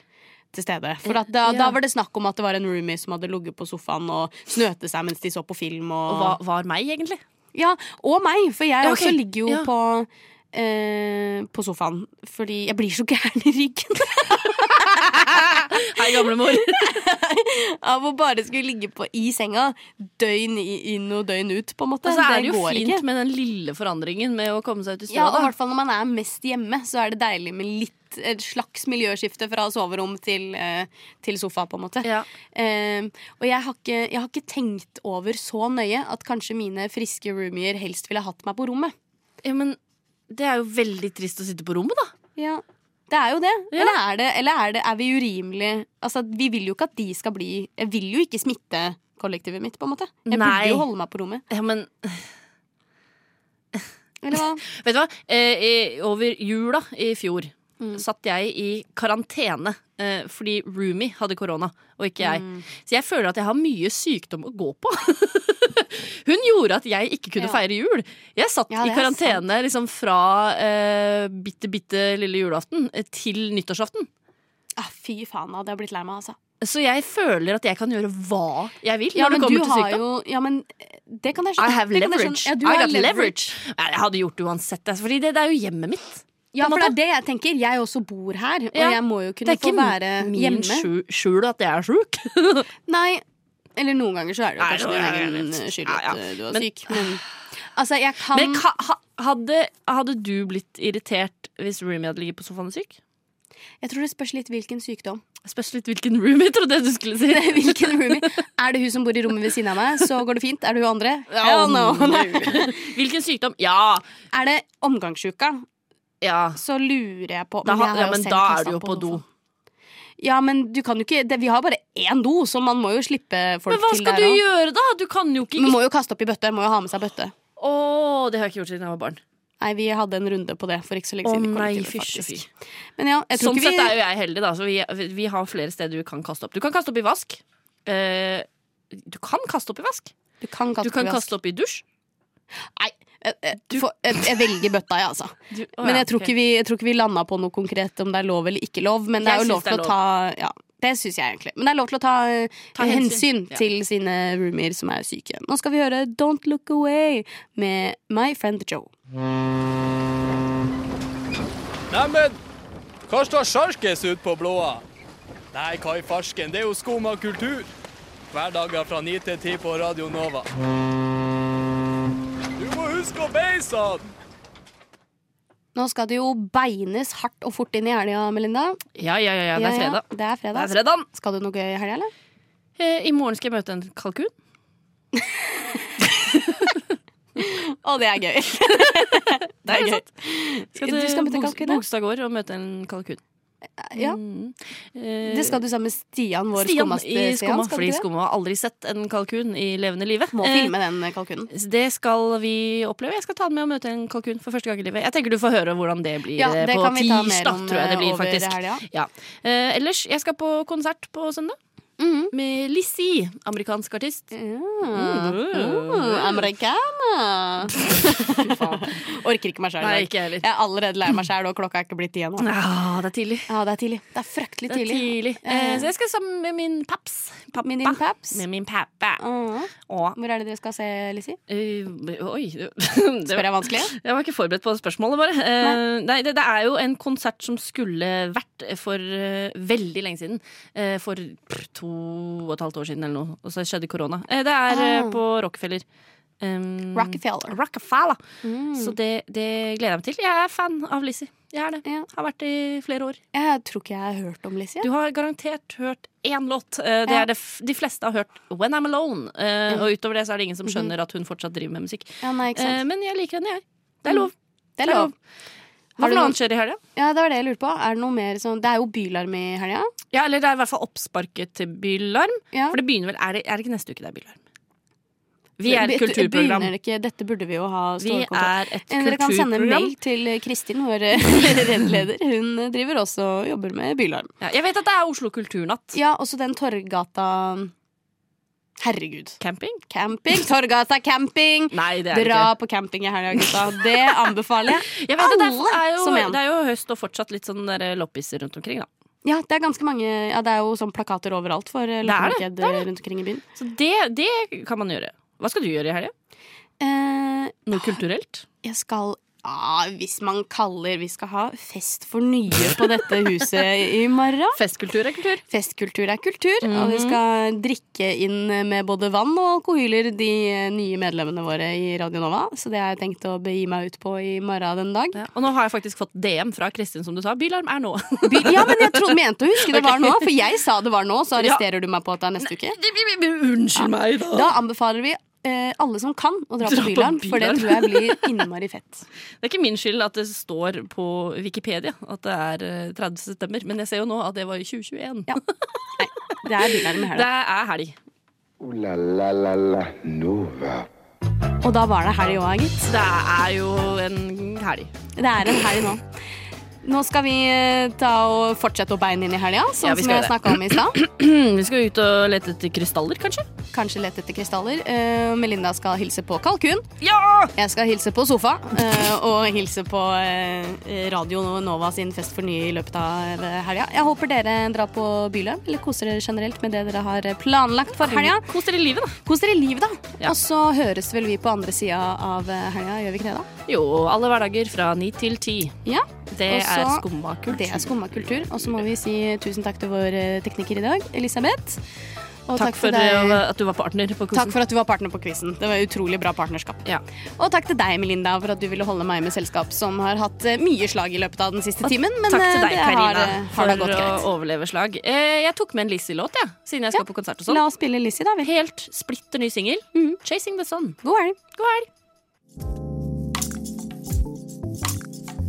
S3: til stede. For at da,
S5: Ja.
S3: da var det snakk om at det var en roomie som hadde ligget på sofaen og snøte seg mens de så på film. Og,
S5: Og hva var meg, egentlig?
S3: Ja, og meg, for jeg
S5: Ja, ok.
S3: også ligger jo
S5: Ja.
S3: på eh, på sofaen, fordi jeg blir så gæren i ryggen
S5: Hei, gamlemor.
S3: av å bare skulle ligge på i senga døgn i- inn og døgn ut, på en måte.
S5: Og så Altså, er
S3: Det
S5: det jo
S3: går
S5: fint
S3: ikke.
S5: med den lille forandringen med å komme seg ut i stua.
S3: Ja, og i
S5: da.
S3: hvert fall når man er mest hjemme, så er det deilig med litt et slags miljøskifte fra soverom til, eh, til sofa, på en måte.
S5: Ja.
S3: Eh, og jeg har, ikke, jeg har ikke tenkt over så nøye at kanskje mine friske roomier helst ville hatt meg på rommet.
S5: Ja, men det er jo veldig trist å sitte på rommet, da.
S3: Ja, det er jo det.
S5: Ja.
S3: Eller, er det, eller er, det, er vi urimelige? Altså, vi vil jo ikke at de skal bli Jeg vil jo ikke smitte kollektivet mitt, på en måte. Jeg
S5: Nei.
S3: burde jo holde meg på rommet.
S5: Ja, men
S3: Eller hva?
S5: Vet du hva? Eh, i- over jula i fjor
S3: Mm.
S5: satt jeg i karantene eh, fordi roomie hadde korona, og ikke jeg.
S3: Mm.
S5: Så jeg føler at jeg har mye sykdom å gå på. Hun gjorde at jeg ikke kunne
S3: Ja.
S5: feire jul. Jeg satt
S3: Ja, det
S5: i
S3: er
S5: karantene liksom fra eh, bitte, bitte lille julaften eh, til nyttårsaften.
S3: Ah, fy faen, da hadde jeg blitt lei meg, altså.
S5: Så jeg føler at jeg kan gjøre hva jeg vil
S3: Ja,
S5: når
S3: men
S5: det
S3: du
S5: kommer til
S3: har
S5: sykdom.
S3: jo Ja, men eh, det kan jeg skjønne.
S5: I have
S3: Det kan jeg
S5: leverage.
S3: skjønne. Ja, du
S5: I
S3: har
S5: got leverage. Nei, Jeg hadde gjort det uansett, altså, Fordi det, det er jo hjemmet mitt.
S3: Ja,
S5: på en
S3: for det
S5: måte.
S3: er det jeg tenker. Jeg også bor her, og
S5: Ja.
S3: jeg må jo
S5: det
S3: kunne
S5: er
S3: få
S5: ikke
S3: være
S5: min
S3: hjemme.
S5: sju- skjul at jeg er sjuk.
S3: Nei, eller noen ganger så er det jo
S5: Nei,
S3: kanskje
S5: det er
S3: din egen
S5: litt-
S3: skyld
S5: Ja,
S3: at
S5: ja.
S3: eh, du er
S5: Men-
S3: syk, men altså, jeg kan
S5: Men ka, ha, hadde, hadde du blitt irritert hvis roomie hadde ligget på sofaen og syk?
S3: Jeg tror det spørs litt hvilken sykdom.
S5: Spørs litt hvilken roomie, trodde jeg du skulle si.
S3: Hvilken roomie? Er det hun som bor i rommet ved siden av meg, så går det fint. Er det hun andre? Hell no.
S5: Hvilken sykdom? Ja!
S3: Er det omgangssjuka,
S5: ja.
S3: så lurer jeg på
S5: Da,
S3: jeg har
S5: ja,
S3: jo
S5: men
S3: selv
S5: da
S3: kastet
S5: er du jo
S3: opp
S5: på do.
S3: sofaen. Ja, men du kan jo ikke det, Vi har bare én do, så man må jo slippe folk
S5: Men hva
S3: til
S5: skal du
S3: der også.
S5: gjøre, da? Du kan jo ikke
S3: Man må jo kaste opp i bøtte. Må jo ha med seg bøtte.
S5: Å, det har jeg ikke gjort siden jeg var barn.
S3: Nei, vi hadde en runde på det for ikke så lenge
S5: Å
S3: siden. i
S5: nei,
S3: kollektivet,
S5: fysj og fy.
S3: faktisk. Men ja, jeg tror
S5: Sånn
S3: ikke vi
S5: sett er jo jeg heldig, da. Så vi, vi har flere steder du kan kaste opp. Du kan kaste opp i vask. Eh, du kan kaste opp i vask.
S3: Du kan kaste
S5: Du kan
S3: opp i vask.
S5: kaste opp i dusj.
S3: Nei, jeg, jeg, for- jeg, jeg velger bøtta, jeg, altså.
S5: Du- å,
S3: Men
S5: ja,
S3: jeg tror
S5: ok.
S3: ikke vi, jeg tror ikke vi landa på noe konkret om det er lov eller ikke lov. Men det er
S5: Jeg
S3: jo
S5: synes
S3: lov
S5: det er
S3: til å
S5: lov.
S3: ta ja, Det syns jeg egentlig. Men det er lov til å ta, eh,
S5: Ta
S3: hensyn,
S5: hensyn, ja.
S3: til sine roomier som er syke. Nå skal vi høre Don't Look Away med My Friend Joe.
S12: Neimen, hva står sjarkes ut på blåa? Nei, hva i farsken, det er jo skum av kultur. Hverdager fra 9 til 10 på Radio Nova. Du må huske å beise han!
S3: Nå skal det jo beines hardt og fort inn i helga, Melinda.
S5: Ja, ja, ja, ja, det er fredag.
S3: det er fredag.
S5: Det er fredag.
S3: Skal du noe gøy i helga, eller?
S5: Eh, I morgen skal jeg møte en kalkun.
S3: Å, det er gøy. det er gøy.
S5: Skal
S3: Du
S5: til
S3: skal møte
S5: Bogs-
S3: kalkun, ja.
S5: Bogstad gård og møte en kalkun.
S3: Ja.
S5: Mm.
S3: Det skal du sammen med Stian, vår
S5: Stian
S3: skummaste
S5: i
S3: Stian.
S5: Skumma,
S3: Skal du
S5: fordi
S3: ikke det?
S5: Skumma har aldri sett en kalkun i levende live.
S3: Må
S5: Eh,
S3: filme den kalkunen.
S5: Det skal vi oppleve. Jeg skal ta den med og møte en kalkun for første gang i livet. Jeg tenker du får høre hvordan det blir
S3: Ja,
S5: eh,
S3: det
S5: på
S3: kan vi ta mer
S5: tirsdag,
S3: om,
S5: tror jeg det
S3: eh,
S5: blir,
S3: over
S5: faktisk.
S3: helga.
S5: Ja. Eh, ellers, jeg skal på konsert på søndag. Med Lizzie, amerikansk artist.
S3: Mm, Americana! Orker ikke meg sjøl.
S5: Nei,
S3: Jeg er allerede lei meg sjæl, og klokka er ikke blitt ti ennå.
S5: Ja, det er tidlig.
S3: Ja, det er tidlig. Det er fryktelig
S5: Det er
S3: tidlig.
S5: tidlig. Eh, så jeg skal sammen med min paps. Pappa.
S3: Med din paps?
S5: Med min pappa. Og
S3: Hvor er det dere skal se, Lizzie?
S5: Eh, oi det,
S3: Spør jeg vanskelig?
S5: Jeg var ikke forberedt på det spørsmålet, bare. Eh, nei, det, det er jo en konsert som skulle vært for eh, veldig lenge siden. Eh, for pff, to og et halvt år siden eller noe. Og så skjedde korona. Eh, det er eh,
S3: Ah.
S5: på Rockefeller. Um,
S3: Rockefeller. Mm.
S5: Rockefeller. Så det, det gleder jeg meg til. Jeg er fan av Lizzie. Jeg er det. Har vært i flere år.
S3: Jeg tror ikke jeg har hørt om Lizzie.
S5: Du har garantert hørt én låt. Eh, Det
S3: Ja.
S5: er det f de fleste har hørt 'When I'm Alone'. Eh, Og utover det så er det ingen
S3: Mhm.
S5: som skjønner at hun fortsatt driver med musikk.
S3: Ja, nei, ikke sant.
S5: Eh, Men jeg liker henne, jeg. Det er lov.
S3: Det er lov.
S5: Hva
S3: Har
S5: for
S3: du
S5: noe
S3: noen-
S5: annet skjer i helga?
S3: Ja, det var det jeg lurte på. Er det noe mer sånn Det er jo bylarm i helga.
S5: Ja, eller det er i hvert fall oppsparket til Bylarm. For det begynner vel Er det, er det ikke neste uke det er Bylarm? Vi er et
S3: Be-
S5: kulturprogram.
S3: begynner det ikke- Dette burde vi jo ha
S5: Vi
S3: stålkontroll.
S5: er et
S3: Eh, Dere kan sende en
S5: kulturprogram.
S3: mail til Kristin, vår redeleder. Hun driver også og jobber med bylarm.
S5: Ja, jeg vet at det er Oslo kulturnatt.
S3: Ja, også den Torggata Herregud.
S5: Camping?
S3: Camping, Torggata camping!
S5: Nei, det er det
S3: Dra
S5: ikke.
S3: på camping i helga, gutta. Det anbefaler jeg.
S5: Jeg vet at det er,
S3: Alle
S5: er jo,
S3: som en.
S5: det er jo høst og fortsatt litt sånn der loppiser rundt omkring, da.
S3: Ja, det er ganske mange Ja, det er jo sånn plakater overalt for eh,
S5: Det er det,
S3: loppemarked
S5: det er det.
S3: rundt omkring i byen.
S5: Så det, det kan man gjøre. Hva skal du gjøre i helga?
S3: Eh,
S5: Noe kulturelt?
S3: jeg skal ja, Hvis man kaller Vi skal ha fest for nye på dette huset i morgen.
S5: Festkultur er kultur.
S3: Festkultur er kultur. Og vi
S5: Mhm.
S3: skal drikke inn med både vann og alkohyler, de eh, nye medlemmene våre i Radio Nova. Så det har jeg tenkt å begi meg ut på i morgen den dag.
S5: Og nå har jeg faktisk fått DM fra Kristin, som du sa. Bylarm er nå.
S3: By- Ja, men jeg trodde, mente å huske det var nå, for jeg sa det var nå, så
S5: Ja.
S3: arresterer du meg på at det er neste uke.
S5: Unnskyld meg, da.
S3: Da anbefaler vi eh, alle som kan, å dra,
S5: Dra
S3: på
S5: på
S3: Bylarm, for det
S5: Bylarm.
S3: tror jeg blir innmari fett.
S5: Det er ikke min skyld at det står på Wikipedia at det er eh, 30. september, men jeg ser jo nå at det var i 2021.
S3: Det er Bylarm i helga.
S5: Det er helg.
S2: Ooh la la la la Nova.
S3: Og da var det helg òg, gitt.
S5: Det er jo en helg.
S3: Det er en helg nå. Nå skal vi eh, ta og fortsette å beine inn i helga, sånn
S5: Ja, vi
S3: som jeg
S5: skal gjøre det.
S3: snakka om i stad.
S5: vi skal ut og lete etter krystaller, kanskje?
S3: Kanskje lete etter krystaller. Eh, Melinda skal hilse på kalkun.
S5: Ja!
S3: Jeg skal hilse på sofa. eh, og hilse på eh, Radio Nova sin Fest for nye i løpet av eh, helga. Jeg håper dere drar på byløp, eller koser dere generelt med det dere har eh, planlagt for helga.
S5: Kos dere i livet, da.
S3: Kos dere i livet, da. Og så høres vel vi på andre sida av eh, helga, gjør vi ikke det, da?
S5: Jo, alle hverdager fra ni til ti.
S3: Ja.
S5: Det
S3: Og så-
S5: er skumma kultur.
S3: Det er skumma kultur. Og så må vi si tusen takk til vår eh, tekniker i dag, Elisabeth. Og
S5: Takk, for eh, at du var partner på kosen.
S3: Takk for at du var partner på quizen. Det var utrolig bra partnerskap. Og takk til deg, Melinda, for at du ville holde meg med selskap som har hatt eh, mye slag i løpet av den siste timen. Men
S5: Takk
S3: eh,
S5: til deg,
S3: det har,
S5: Karina,
S3: eh, har da
S5: for
S3: gått
S5: å
S3: greit.
S5: overleve slag. Eh, Jeg tok med en Lizzie-låt, jeg, siden jeg skal på konsert og sånn.
S3: La oss spille Lizzie, da. Vel.
S5: Helt splitter ny singel. 'Chasing the Sun'.
S3: God helg.
S5: God helg.